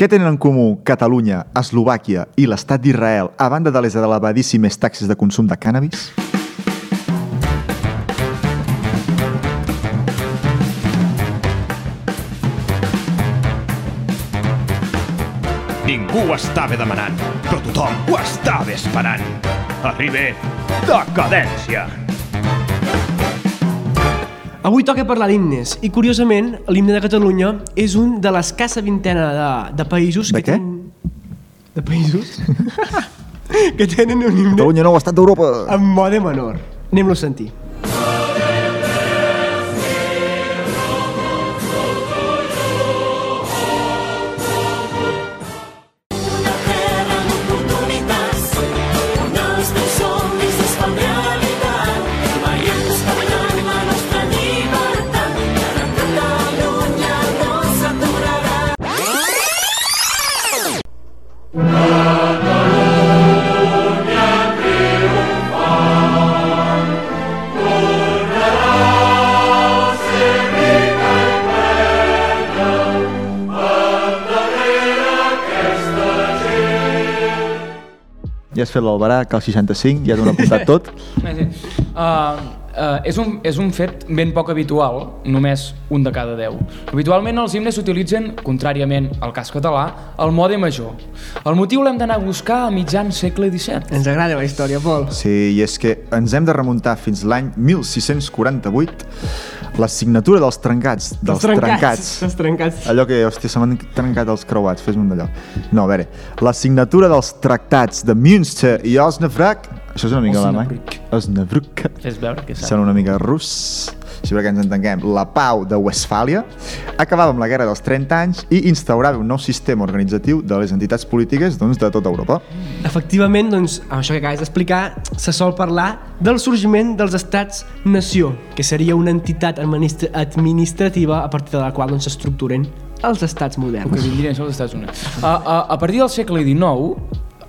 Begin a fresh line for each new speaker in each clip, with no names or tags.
Què tenen en comú Catalunya, Eslovàquia i l'estat d'Israel a banda de les elevadíssimes taxes de consum de cànnabis?
Ningú ho estava demanant, però tothom ho estava esperant. Arriba Decadència.
Avui toca parlar d'himnes i, curiosament, l'himne de Catalunya és un de l'escassa vintena de, de països...
De
que
què?
Tenen... De països? que tenen un himne
Catalunya nou estat d'Europa!
en mode menor. Anem-lo a sentir.
terra amb oportunitats. Tornals de somnis es fan realitat. Veiem desplegant la nostra llibertat. Ara Catalunya no s'aturarà.
Ja has fet l'albarà, cal 65, ja t'ho han apuntat tot.
Sí. Uh, Uh, és, un, és un fet ben poc habitual, només un de cada deu. Habitualment els himnes s'utilitzen, contràriament al cas català, al mode major. El motiu l'hem d'anar a buscar a mitjan segle XVII.
Ens agrada la història, Pol.
Sí, i és que ens hem de remuntar fins l'any 1648, la signatura dels trencats, dels trencats,
Els trencats.
Allò que, hòstia, se m'han trencat els creuats, fes-me un d'allò. No, a veure, la signatura dels tractats de Münster i Osnabrück, això és una mica alemany, Osnabrück,
Fes veure que
sembla una mica rus, així perquè ens entenguem, la pau de Westfàlia, acabava amb la guerra dels 30 anys i instaurava un nou sistema organitzatiu de les entitats polítiques doncs, de tota Europa.
Efectivament, doncs, amb això que acabes d'explicar, se sol parlar del sorgiment dels estats-nació, que seria una entitat administra administrativa a partir de la qual doncs, s'estructuren els estats
que
moderns.
vindrien són els Estats Units. A, a, a partir del segle XIX,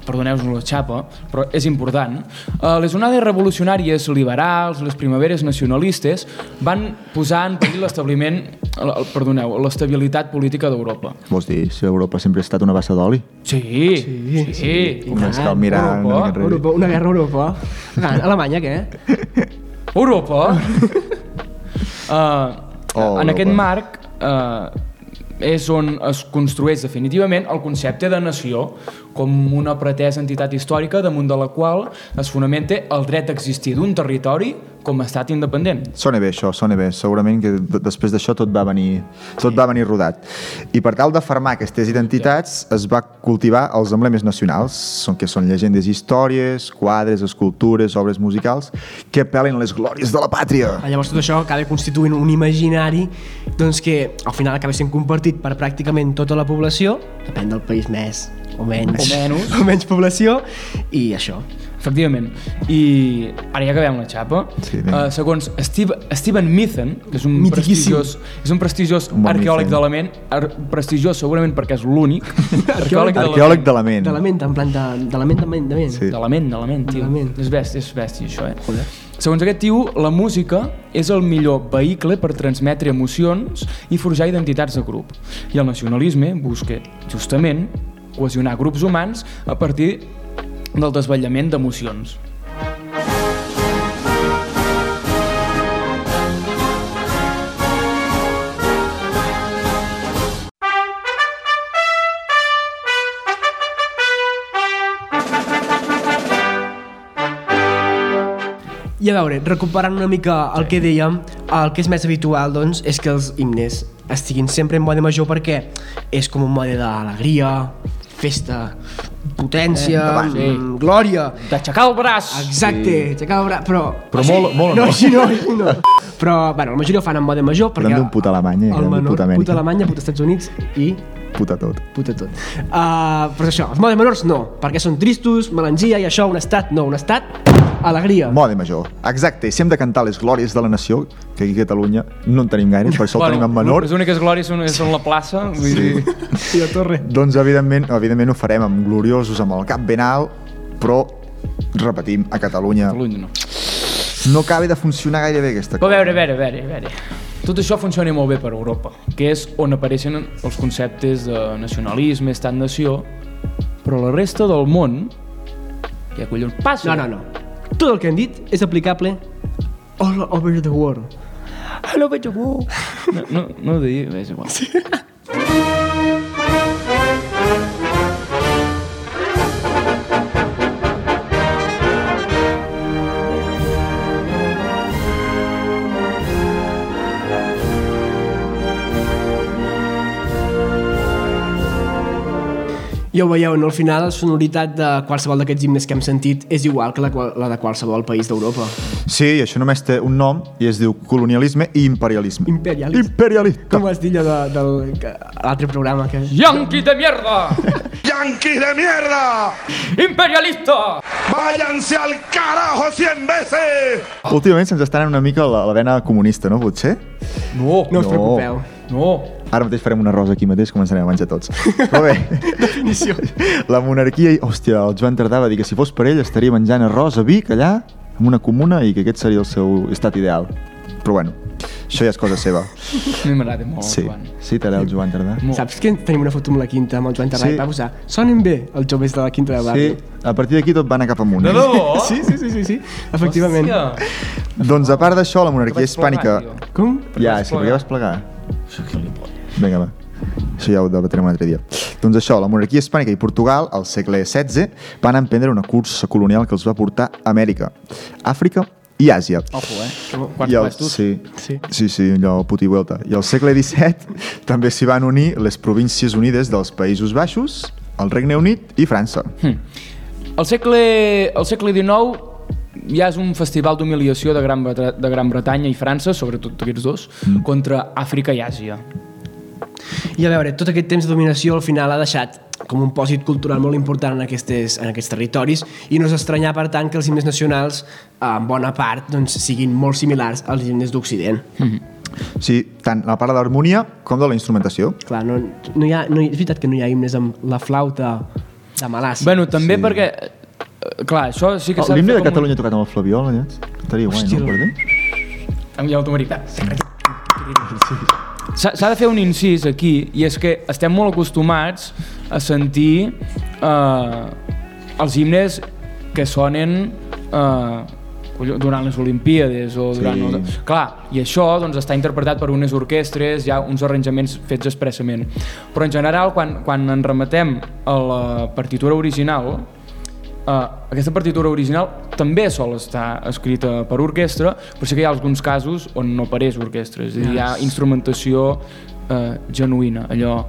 perdoneu-nos la xapa, però és important, eh, les onades revolucionàries liberals, les primaveres nacionalistes, van posar en perill l'establiment, el- el- perdoneu, l'estabilitat política d'Europa.
Vols dir, si Europa sempre ha estat una bassa d'oli?
Sí, sí,
I
sí.
Només
tant.
cal mirar
Europa,
una mica enrere.
Europa, una guerra a Europa. Ah, Alemanya, què?
Europa! uh,
Oh,
oh, en aquest
Europa.
marc uh, és on es construeix definitivament el concepte de nació com una pretesa entitat històrica damunt de la qual es fonamenta el dret a existir d'un territori com a estat independent.
Sona bé això, sona bé. Segurament que d- després d'això tot va venir tot va venir rodat. I per tal de fermar aquestes identitats es va cultivar els emblemes nacionals, són que són llegendes i històries, quadres, escultures, obres musicals, que apel·len a les glòries de la pàtria.
Ah, Llavors tot això acaba constituint un imaginari doncs, que al final acaba sent compartit per pràcticament tota la població, depèn del país més o menys,
O menys.
o menys població, i això.
Efectivament. I ara ja acabem la xapa.
Sí, vinga.
uh, segons Steve, Steven Mithen, que és un
Mitiquíssim.
prestigiós, és un prestigiós
Un bon
arqueòleg
Mithen.
de la ment, ar prestigiós segurament perquè és l'únic, arqueòleg de la
Arqueòleg de la ment.
De la ment, en plan de, de la ment, de ment, de ment.
Sí.
De la ment, de la ment, tio.
De la ment.
És bèstia, és bèstia, això, eh?
Joder.
Segons aquest tio, la música és el millor vehicle per transmetre emocions i forjar identitats de grup. I el nacionalisme busca, justament, cohesionar grups humans a partir del desvetllament d'emocions.
I a veure, recuperant una mica el que dèiem, el que és més habitual doncs, és que els himnes estiguin sempre en mode major perquè és com un mode d'alegria, festa, potència,
Eh, endavant.
sí. glòria...
D'aixecar el braç!
Exacte, sí. aixecar el braç, però...
Però molt- molt
no.
no.
Així no, així no. Però, bueno, la majoria ho fan en mode major perquè...
Volem d'un puta Alemanya i
El
volem d'un
menor,
puta Amèrica.
puta Alemanya, puta Estats Units i
Puta tot.
puta tot. Uh, però és això, els modes menors no, perquè són tristos, melangia i això, un estat, no, un estat, alegria.
Mode major. Exacte, i si hem de cantar les glòries de la nació, que aquí a Catalunya no en tenim gaire, per això el tenim en menor.
Les úniques glòries són, són la plaça, vull sí. dir...
I la torre.
Doncs evidentment, evidentment ho farem amb gloriosos, amb el cap ben alt, però repetim, a Catalunya
Catalunya no.
no acaba de funcionar gaire bé aquesta
Però a
cosa.
veure, a veure, a veure, a veure. Tu tot això funciona molt bé per Europa, que és on apareixen els conceptes de nacionalisme, estat nació, però la resta del món ja collons passa.
No, no, no. Tot el que hem dit és aplicable all over the world.
Ah,
All over the world.
No, no, no ho diria, bé, és igual. Sí.
Ja ho veieu, no? al final la sonoritat de qualsevol d'aquests himnes que hem sentit és igual que la, qual- la de qualsevol país d'Europa.
Sí, i això només té un nom i es diu colonialisme i imperialisme.
Imperialista.
Imperialista.
Com vas dir allò de, del, que- a l'altre programa que...
Yankee de mierda!
¡Yankees de mierda!
Imperialista!
¡Váyanse al carajo cien veces!
Últimament se'ns estan anant una mica la, la vena comunista, no, potser?
No,
No us
No.
preocupeu.
no.
Ara mateix farem una rosa aquí mateix, començarem a menjar tots. Però bé,
Definició.
la monarquia... i- Hòstia, el Joan Tardà va dir que si fos per ell estaria menjant arròs a Vic allà, en una comuna, i que aquest seria el seu estat ideal. Però bueno, això ja és cosa seva.
A mi m'agrada molt,
Sí,
Joan.
sí, t'agrada el Joan Tardà.
Molt.
Saps que tenim una foto amb la Quinta, amb el Joan Terrat,
Sí.
sí. va posar sonen bé els joves de la Quinta de
Sí,
Barri.
a partir d'aquí tot va anar cap amunt. eh?
De debò?
Sí, sí, sí, sí, sí. efectivament.
Oh! Hòstia,
Doncs a part d'això, la monarquia
vaig
hispànica...
plegar, tio.
Com?
Ja, és
vas
que per
plegar.
què vas plegar? Vinga, va. Això ja ho debatrem un altre dia. Doncs això, la monarquia hispànica i Portugal, al segle XVI, van emprendre una cursa colonial que els va portar a Amèrica, Àfrica i Àsia.
Ojo, eh?
I
Quants
el-
puestos?
Sí,
Sí.
sí, sí allò puti vuelta. I al segle XVII també s'hi van unir les províncies unides dels Països Baixos, el Regne Unit i França.
Hm. Al segle, al segle XIX ja és un festival d'humiliació de, Gran Breta- de Gran Bretanya i França, sobretot aquests dos, mm. contra Àfrica i Àsia.
I a veure, tot aquest temps de dominació al final ha deixat com un pòsit cultural molt important en, aquestes, en aquests territoris i no és estranyar, per tant, que els himnes nacionals, eh, en bona part, doncs, siguin molt similars als himnes d'Occident. Mm.
O sigui, tant la part de l'harmonia com de la instrumentació.
Clar, no, no hi ha, no, hi- és veritat que no hi ha himnes amb la flauta de Malàcia.
Bueno, també sí. perquè... eh, Clar, això sí que
Oh,
s'ha
L'himne
fer
de
com
Catalunya tocat amb el Flabiol, allà? Estaria guai,
Hòstia.
no? Per dir?
Un... Amb l'automarità. S'ha s'ha de fer un incís aquí, i és que estem molt acostumats a sentir eh, els himnes que sonen eh, collo- durant les Olimpíades o durant...
Sí.
Els... Clar, i això doncs, està interpretat per unes orquestres, hi ha uns arranjaments fets expressament. Però en general, quan, quan ens remetem a la partitura original, eh, aquesta partitura original també sol estar escrita per orquestra, però sí que hi ha alguns casos on no apareix orquestra, és a dir, hi ha instrumentació eh, genuïna, allò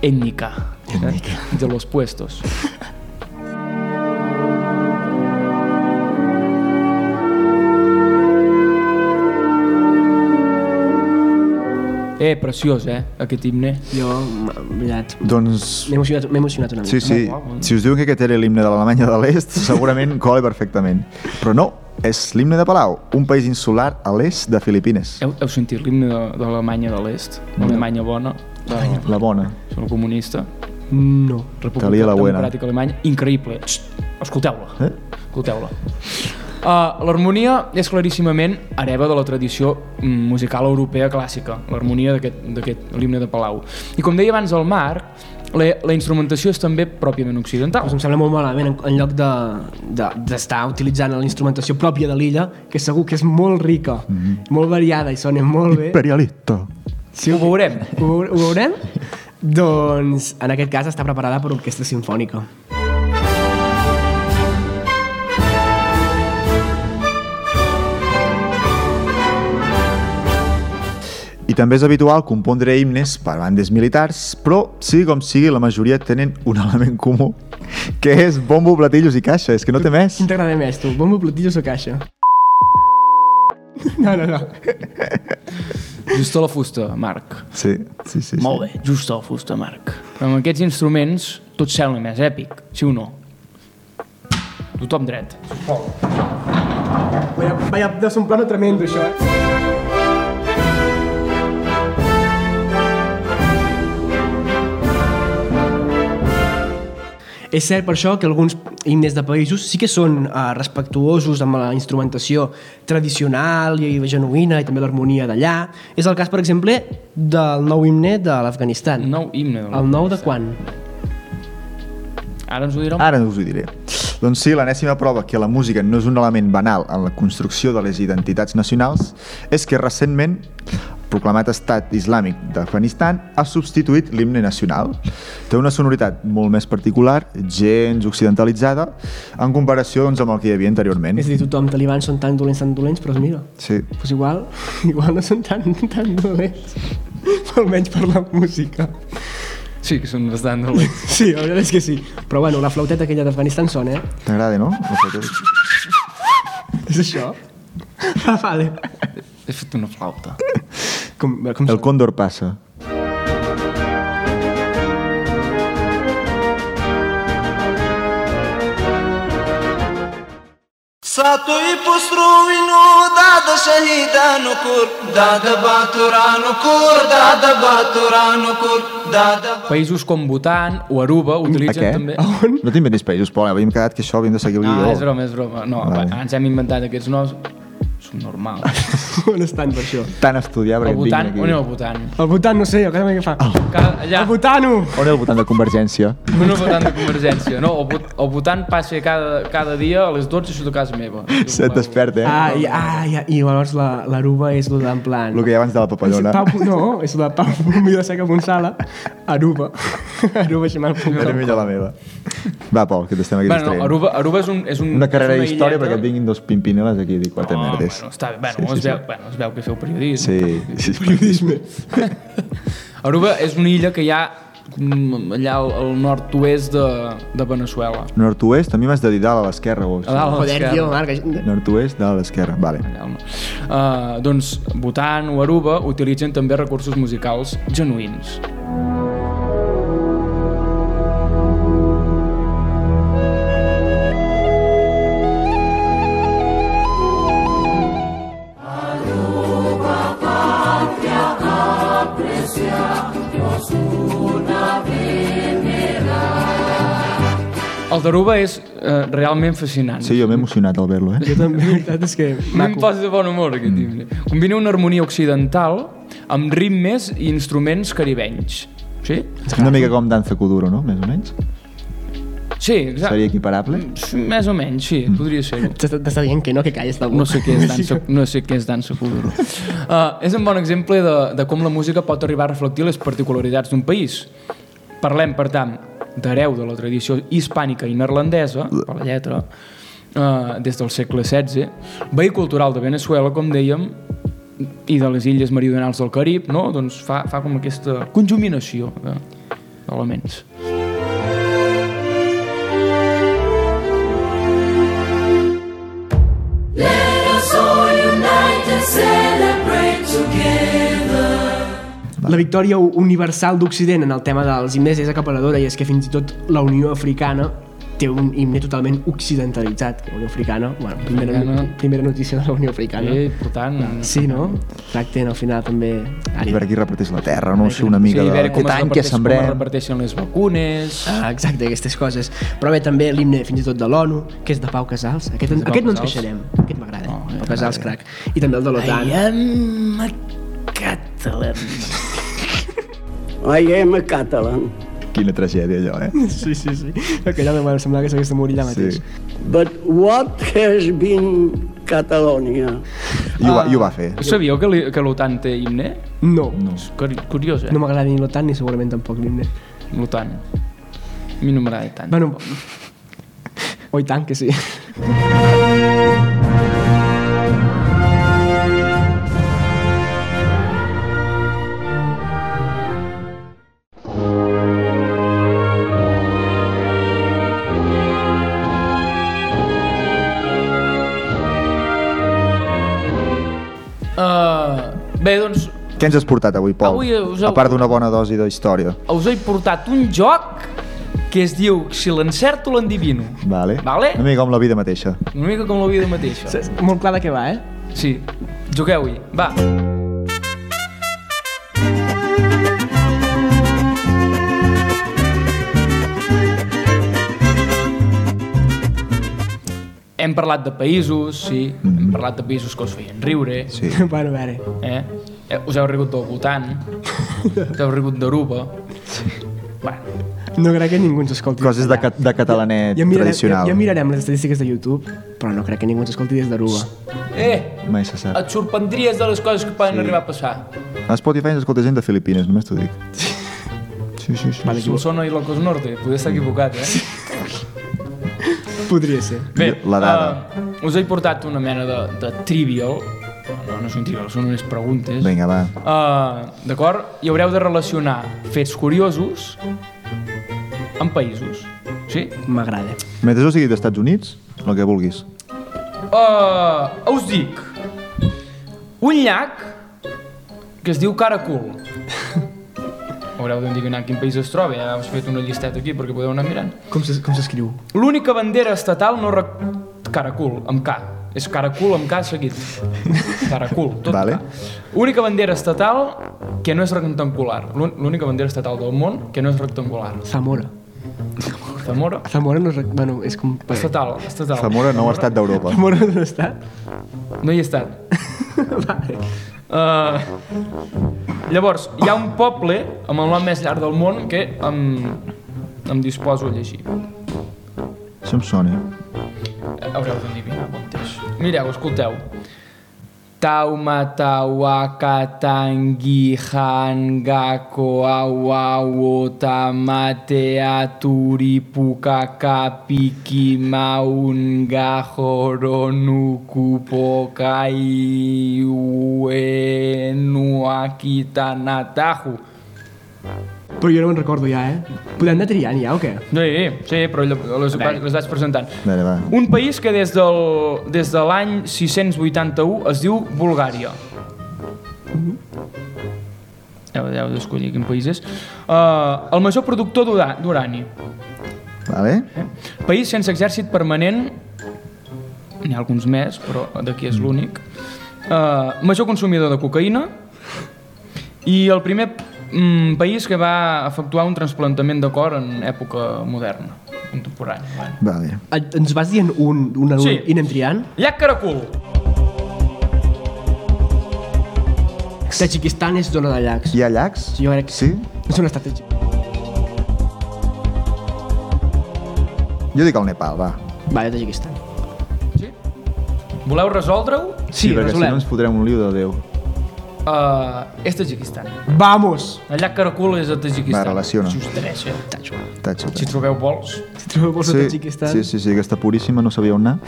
ètnica, ètnica. Eh? de los puestos. Eh, preciós, eh, aquest himne.
Jo, m- veritat,
Doncs
m'he emocionat, m'he emocionat una mica.
Sí, sí.
guapo, eh?
Si us diuen que aquest era l'himne de l'Alemanya de l'Est, segurament cola perfectament. Però no, és l'himne de Palau, un país insular a l'est de Filipines.
Heu, heu sentit l'himne de, de l'Alemanya de l'Est? L'Alemanya bona, de,
La bona.
el comunista.
No.
Talia la
República
buena.
Democràtica Alemanya, increïble. Xxt, Escolteu-la.
Eh?
Eh? Escolteu-la. Uh, L'harmonia és claríssimament hereva de la tradició mm, musical europea clàssica, l'harmonia d'aquest- d'aquest l'himne de Palau. I com deia abans el Marc, la, la instrumentació és també pròpiament
Doncs
occidental.
em sembla molt malament, en, en lloc de- de- d'estar de, utilitzant la instrumentació pròpia de l'illa, que segur que és molt rica, mm
Mhm.
-hmm. molt variada i sona molt bé.
Imperialista.
Sí, ho veurem.
Ho, veu- ho veurem? doncs, en aquest cas, està preparada per orquestra sinfònica.
I també és habitual compondre himnes per bandes militars, però, sigui com sigui, la majoria tenen un element comú, que és bombo, platillos i caixa. És que no té més.
Quin t'agrada més, tu? Bombo, platillos o caixa? No, no, no.
Just a la fusta, Marc.
Sí, sí, sí. sí.
Molt bé, just a la fusta, Marc. Amb aquests instruments tot sembla més èpic, sí o no? Tothom dret.
Vaya, vaya, deu ser un plano tremendo, això, eh? És cert per això que alguns himnes de països sí que són eh, respectuosos amb la instrumentació tradicional i genuïna i també l'harmonia d'allà. És el cas, per exemple, del nou himne de l'Afganistan.
Nou himne. de la-
El nou de quan?
Ara ens ho dirà un...
Ara us ho diré. Doncs sí, l'enèsima prova que la música no és un element banal en la construcció de les identitats nacionals és que recentment el proclamat estat islàmic d'Afganistan ha substituït l'himne nacional. Té una sonoritat molt més particular, gens occidentalitzada, en comparació doncs, amb el que hi havia anteriorment.
És a dir, tothom, talibans són tan dolents, tan dolents, però mira,
Sí.
pues igual, igual no són tan, tan dolents. Almenys per la música.
Sí, que són bastant dolents.
Sí, la veritat és que sí. Però bueno, la flauteta aquella d'Afganistan sona, eh?
T'agrada, no? Sí,
És això? Ah, vale.
He fet una flauta.
Com, com
El còndor passa.
ساتوی پسرو وینو دا د شهیدانو کور دا د باتورانو کور دا د باتورانو کور دا د
Països com Bhutan o Aruba utilitzen
què? Oh.
també...
No t'inventis països, Pol, havíem quedat que això havíem de seguir el
Ah,
guió.
és broma, és broma. No,
Vale.
va, ens hem inventat aquests noms. Són normals.
On estan per això?
Tant estudiar, perquè
El
et
Bhutan,
vinguin
on
aquí.
era el Bhutan?
El votant no sé, jo cada vegada que fa. Oh.
Ah.
Cal- Allà,
El votant-ho!
On era el votant de Convergència?
no el Bhutan de Convergència. No, el, Bhut- el Bhutan passa cada, cada dia a les 12 i surt a casa meva.
Se't desperta, eh?
Ah, i, ah, i, i llavors la- l'aruba és el en plan...
El que hi ha abans de la papallona.
Pau, no, és la Pau Millor Seca Gonçala, Aruba. Aruba, Ximal
Era
Puc.
millor la meva. Va, Pol, que t'estem aquí
Bueno, no,
distraient.
Aruba, Aruba és un... És un
Una carrera
és
d'història
illeta.
perquè et vinguin dos pimpineles aquí a dir quatre
Oh,
merdes.
bueno, està bé. Bueno, sí, es,
sí,
veu, bueno, es veu que feu periodisme.
Sí, sí,
Periodisme.
Aruba és una illa que hi ha mm, allà al, al nord-oest de, de Venezuela.
Nord-oest, a mi m'has de dir dalt a l'esquerra. o
A dalt a
Joder,
l'esquerra.
tio, Marc. això-
Nord-oest, dalt a l'esquerra, vale.
Allà, home. Uh, doncs Bhutan o Aruba utilitzen també recursos musicals genuïns. El d'Aruba és eh, realment fascinant.
Sí, jo m'he emocionat al ver-lo, eh?
Jo també, la veritat és que...
No em posa de bon humor, aquest himne. Combina una harmonia occidental amb ritmes i instruments caribenys. Sí?
Una mica com Danza Kuduro, no? Més o menys.
Sí, exacte.
Seria equiparable.
Sí, Més o menys, sí, podria ser-ho.
T'està t'està dient que no, que calles la boca.
No sé què és dansa, no sé què és dansa kuduro. Uh, és un bon exemple de, de com la música pot arribar a reflectir les particularitats d'un país. Parlem, per tant, d'hereu de la tradició hispànica i neerlandesa, per la lletra, uh, des del segle XVI, veí cultural de Venezuela, com dèiem, i de les illes meridionals del Carib, no? doncs fa, fa com aquesta conjuminació de- d'elements.
Let us all unite and celebrate together.
La victòria universal d'Occident en el tema dels himnes és acaparadora i és que fins i tot la Unió Africana té un himne totalment occidentalitzat. La Unió Africana, bueno, primera,
Africana.
primera notícia de la Unió Africana.
Eh, per tant...
Sí, no? Tracten al final també...
I
Ària.
per aquí reparteix la terra, no ho sé, una
Sí,
mica
a
de
veure com
aquest
es,
any que
reparteix, com es
sembrem.
reparteixen les vacunes...
Ah, exacte, aquestes coses. Però bé, també l'himne fins i tot de l'ONU, que és de Pau Casals. Aquest,
de Pau
aquest no ens
Casals. eh,
queixarem. Aquest m'agrada. Oh, Pau Casals, crac. I també el de l'OTAN.
am a Catalan. I am a Catalan,
Quina tragèdia, allò, eh?
Sí, sí, sí. Aquella em semblava que s'hagués de morir allà mateix.
Sí.
but what has been Catalonia?
I
Ah.
ho va, i ho va fer.
Sabíeu que, li- que l'OTAN té himne?
No.
No.
És curi- curiós, eh?
No m'agrada ni l'OTAN ni segurament tampoc l'himne.
L'OTAN. A mi no m'agrada tant.
Bueno, oh, i tant que sí.
Uh, bé, doncs,
Què ens has portat avui, Pol?
Avui us heu-
A part d'una bona dosi de història.
us he portat un joc que es diu Si l'encerto, l'endivino.
Vale.
Vale?
Una mica com la vida mateixa.
Una mica com la vida mateixa.
És molt clar de què va, eh?
Sí. Jugueu-hi. Va. Hem parlat de països, sí, hem parlat de països que us feien riure,
Sí.
bueno, a veure.
eh? Eh, Us heu rigut del Bhutan, us heu rigut d'Aruba. Bueno,
No crec que ningú ens escolti.
Coses de, ca- de catalanet
ja mirarem,
tradicional.
Ja, ja mirarem les estadístiques de YouTube, però no crec que ningú ens escolti des d'Aruba.
eh,
Mai se sap.
et sorprendries de les coses que poden sí. arribar a passar.
A Spotify ens escolta gent de Filipines, només t'ho dic. Sí, sí, sí.
Vale,
Solsona i Locos Norte, podria estar equivocat, eh?
Podria ser.
Bé,
La dada.
Uh, us he portat una mena de, de trivial, no, no és un trivial, són unes preguntes.
Vinga, va.
Uh, D'acord? I haureu de relacionar fets curiosos amb països. Sí?
M'agrada.
Mentre jo sigui dels Estats Units, el que vulguis.
Uh, us dic, un llac que es diu Caracol. Haureu d'endevinar en quin país es troba, ja us he fet una llisteta aquí perquè podeu anar mirant.
Com s'es- com s'escriu?
L'única bandera estatal no... Rec... Caracul, amb K. És caracul amb K seguit. Caracul, tot
Vale.
K. Única bandera estatal que no és rectangular. L'un- L'única bandera estatal del món que no és rectangular.
Zamora.
Zamora?
Zamora no és... rec- Bueno, és com...
Estatal, estatal.
Zamora nou estat d'Europa.
Zamora no està.
No hi he estat. vale. Uh, llavors, hi ha un poble amb el nom més llarg del món que em, em disposo a llegir.
Això em sona.
Haureu d'endevinar bon temps. Mireu, escolteu. Tauma, taua, katangi, hangako, auau, tamate, aturi, puka, kapiki, maunga, horonuku, pokai, ue, nuaki, tanatahu.
Però jo no me'n recordo ja, eh? Podem anar triant ja o què?
Sí, sí, però llo- les, les vaig presentant.
Vale, va.
Un país que des, del, des de l'any 681 es diu Bulgària. Heu, heu d'escollir quin país és. Uh, el major productor d'ura- d'urani.
Vale?
País sense exèrcit permanent, n'hi ha alguns més, però d'aquí és l'únic. Uh, major consumidor de cocaïna i el primer mm, país que va efectuar un trasplantament de cor en època moderna, contemporània. Bueno.
Vale.
Et- Ens vas dient un, un, a un
Sí.
i anem triant?
Llac Caracol.
Tajiquistan és zona de llacs.
Hi ha llacs?
Sí, jo crec que
Sí?
És un estat tajik.
Jo dic el Nepal, va.
Vale, Tajiquistan.
Sí? Voleu resoldre-ho?
Sí,
perquè si no
resolem.
ens fotrem un lío de Déu.
Uh, és Tajikistan.
Vamos!
El llac Caracol és a Tajikistan.
Va, relaciona.
Just tres, eh?
Tatxa,
Si trobeu vols.
Si trobeu vols sí,
Sí,
Tajiquistan...
sí, sí, sí, aquesta puríssima no sabia on anar.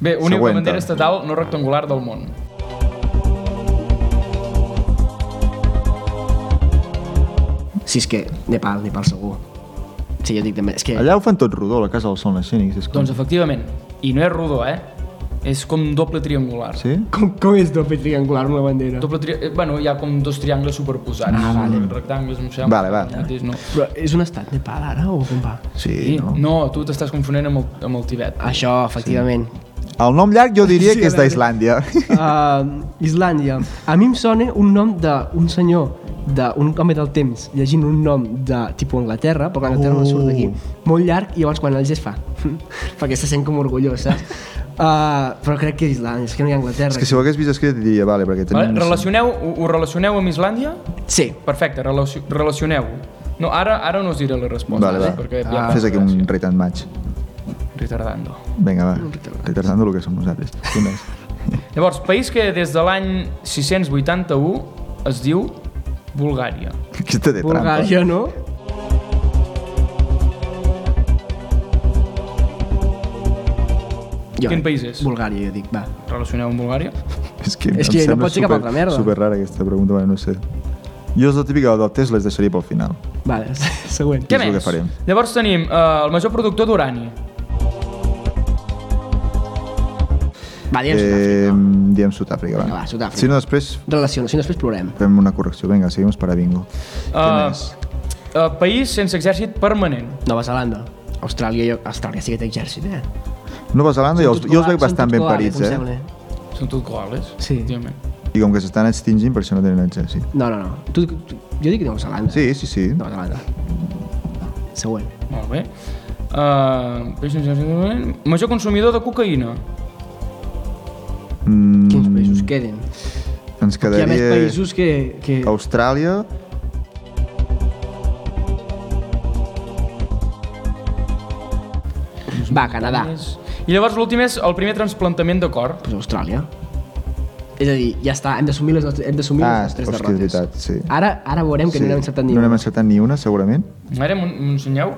Bé, única
Següent,
bandera
doncs.
estatal no rectangular del món.
Sí, és que Nepal, Nepal segur. Sí, jo dic també. És que...
Allà ho fan tot rodó, la casa del sol escènic. És com...
Doncs efectivament, i no és rodó, eh? És com doble triangular.
Sí?
Com, com és doble triangular amb la bandera?
Doble tri... eh, Bueno, hi ha com dos triangles superposats. Ah, vale. Rectangles, em sembla.
Vale, va.
Mateix, no.
Però és un estat Nepal ara o com va?
Sí,
Sí,
no? Ah,
no, tu t'estàs confonent amb el, amb el Tibet.
Això, efectivament.
El nom llarg jo diria
Sí,
que és
a veure.
d'Islàndia.
Uh, Islàndia. A mi em sona un nom d'un senyor, d'un home del temps, llegint un nom de tipus Anglaterra, però que Anglaterra no surt d'aquí,
Uh.
molt llarg, i llavors quan el gest fa, perquè se sent com orgullós, saps? Uh, però crec que és Islàndia, és que no hi ha Anglaterra.
és que si ho hagués vist escrit diria, vale, perquè
Vale?
tenim...
Relacioneu, ho, ho relacioneu amb Islàndia?
Sí,
Perfecte, relacio relacioneu-ho. No, ara, ara no us diré la resposta,
Vale,
eh?
va.
perquè
Ah, Fes aquí un rate and match.
Retardando.
Vinga, va. Retardando el que som nosaltres. Tu més.
Llavors, país que des de l'any 681 es diu Bulgària.
Aquesta té trampa.
Bulgària, no? Jo, eh,
Quin país és?
Bulgària, jo dic, va.
Relacioneu amb Bulgària?
És que,
És
em
que no
sembla
pot ser cap
super-
altra merda.
Superrara aquesta pregunta, bueno, no sé. Jo és la típica del Tesla, les deixaria pel final.
Vale, següent.
Què
és
més?
el que farem.
Llavors tenim eh, el major productor d'urani.
Va, digue'ns eh...
Eh, diem Sud-àfrica, va.
Vinga, va, Sud-àfrica.
Si no, després
Relaciono, si no després plorem.
fem una correcció. Vinga, seguim per a bingo. Què
Eh,
més?
eh, país sense exèrcit permanent.
Nova Zelanda. Austràlia, jo... Austràlia sí que té exèrcit, eh?
Nova Zelanda, jo els, jo els
Són
veig
tot
bastant ben
croades,
parits,
em
eh?
sembla.
Són tot coales.
Sí.
efectivament.
I com que s'estan extingint, per això no tenen exèrcit.
No, no, no. Tu, tu, jo dic Nova Zelanda.
Sí, sí, sí.
Nova Zelanda. Següent.
Molt bé. Eh, Uh, major consumidor de cocaïna.
Quins països queden?
Ens
Hi ha més
Mm. quedaria
països que... que...
Austràlia,
Va, Canadà.
És- I llavors l'últim és el primer transplantament de cor.
Pues Austràlia. És a dir, ja està, hem d'assumir les, nostres- hem d'assumir
Ah,
les nostres
hòstia, és
derrotes.
veritat, sí.
Ara, ara veurem que sí, no n'hem acceptat ni
no n'hem
una.
acceptat ni una, segurament.
Ara m'ho m'ho ensenyeu?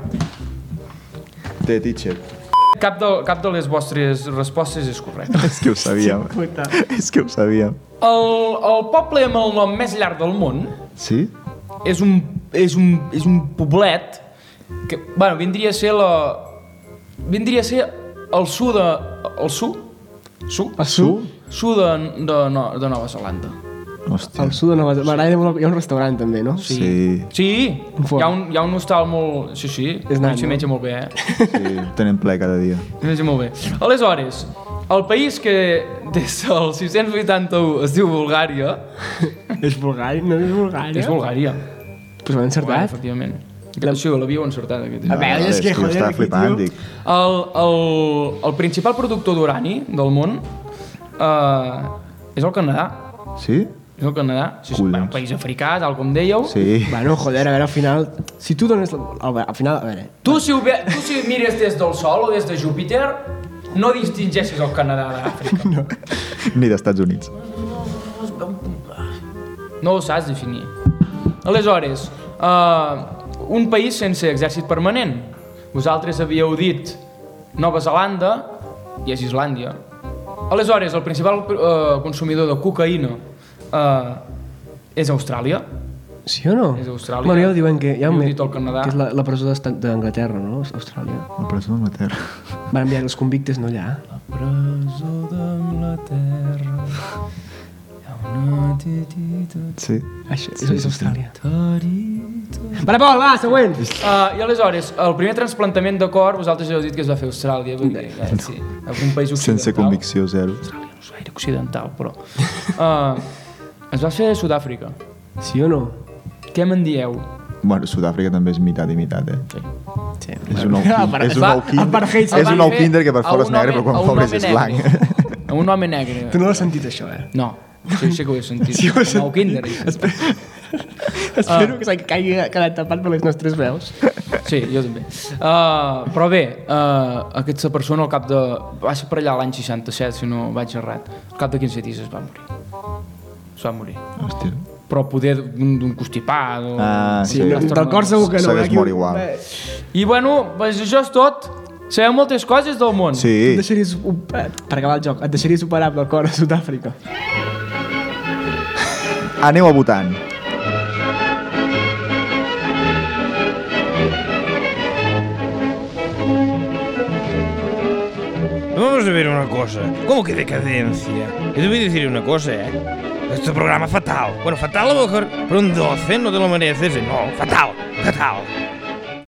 The teacher.
Cap de, cap de les vostres respostes és correcte.
És que ho sabíem.
puta.
és que ho sabíem.
El, el poble amb el nom més llarg del món
Sí?
és un, és un, és un poblet que, bueno, vindria a ser la... Vindria a ser el sud de... El sud? Sud?
El sud?
Sud de, de, no, de Nova Zelanda.
Hòstia.
Al sud de Nova M'agrada molt... Hi ha un restaurant, també, no?
Sí.
Sí.
Sí,
Un forn.
hi ha un, hi ha un hostal molt... Sí, sí,
És nan,
s'hi
no?
menja molt bé, eh?
Sí, ho tenim ple cada dia.
Més molt bé. Aleshores, el país que des del 681 es diu Bulgària...
És Bulgària? No és eh? Bulgària?
És Bulgària.
Pues m'han
Bueno,
encertat.
efectivament. Això l'havíeu encertat, aquest.
A veure,
Vale,
és que, joder,
estava
aquí,
flipant,
tio.
dic.
El, el, el principal productor d'urani del món eh, és el Canadà.
Sí?
És el Canadà. Sí, sí,
Collons.
bueno, un país africà, tal com dèieu.
Sí.
Bueno, joder, a veure, al final... Si tu dones... la- Al, al final, a veure...
Tu si, ho ve, tu si mires des del Sol o des de Júpiter, no distingeixes el Canadà d'Àfrica. No.
Ni d'Estats Units.
no ho saps definir. Aleshores, uh, un país sense exèrcit permanent. Vosaltres havíeu dit Nova Zelanda i és Islàndia. Aleshores, el principal uh, consumidor de cocaïna uh, és Austràlia.
Sí o no?
És Austràlia.
Bueno, ja ho diuen que... Ja
Jo
ho
he
me-
dit el Canadà.
Que és la, la presó d'Estan- d'Anglaterra, no? Austràlia.
La presó d'Anglaterra.
Van enviar els convictes, no allà.
Presó d'Anglaterra hi ha una titita
Sí.
Això, és, és Austràlia. Vale, Pol, va, següent!
Uh, I aleshores, el primer transplantament de cor, vosaltres ja heu dit que es va fer a Austràlia, vull dir, eh, sí, un país occidental.
Sense convicció zero.
Austràlia no és gaire occidental, però... Uh, es va fer a Sud-àfrica.
Sí o no?
Què me'n dieu?
Bueno, Sud-àfrica també és mitat i mitat, eh?
Sí. Ah,
Sí.
És un nou, kin- és un nou kinder,
apartheid
El
és
van
un nou
fer
kinder que per
a
fora és
un
negre, però
home- a
quan
un
fora
home
és
negre.
blanc.
A un home
Tu
negre.
no l'has sentit, això, eh?
No, sí, sí que ho he sentit.
Sí, ho he
Un nou
sentit.
kinder.
Ah. Espero que s'ha que hagi quedat tapat per les nostres veus.
Sí, jo també. Uh, però bé, uh, aquesta persona al cap de... Va ser per allà l'any 67, si no vaig errat. Al cap de 15 dies es va morir. Es va morir.
Hòstia.
Però poder d'un d'un constipat o...
Ah, sí.
Sí, no, del cor segur que no.
S'hagués
aquí-
mort igual.
Eh,
I bueno, doncs això és tot. Sabeu moltes coses del món.
Et
Sí.
deixaries, op- eh, per acabar el joc, et deixaries operar del cor a Sud-àfrica.
Aneu a votant.
Vamos a ver una cosa. ¿Cómo que decadencia? Yo te voy a decir una cosa, ¿eh? Este programa fatal. Bueno, fatal a lo mejor, pero un 12 no te lo mereces. eh, No, fatal, fatal.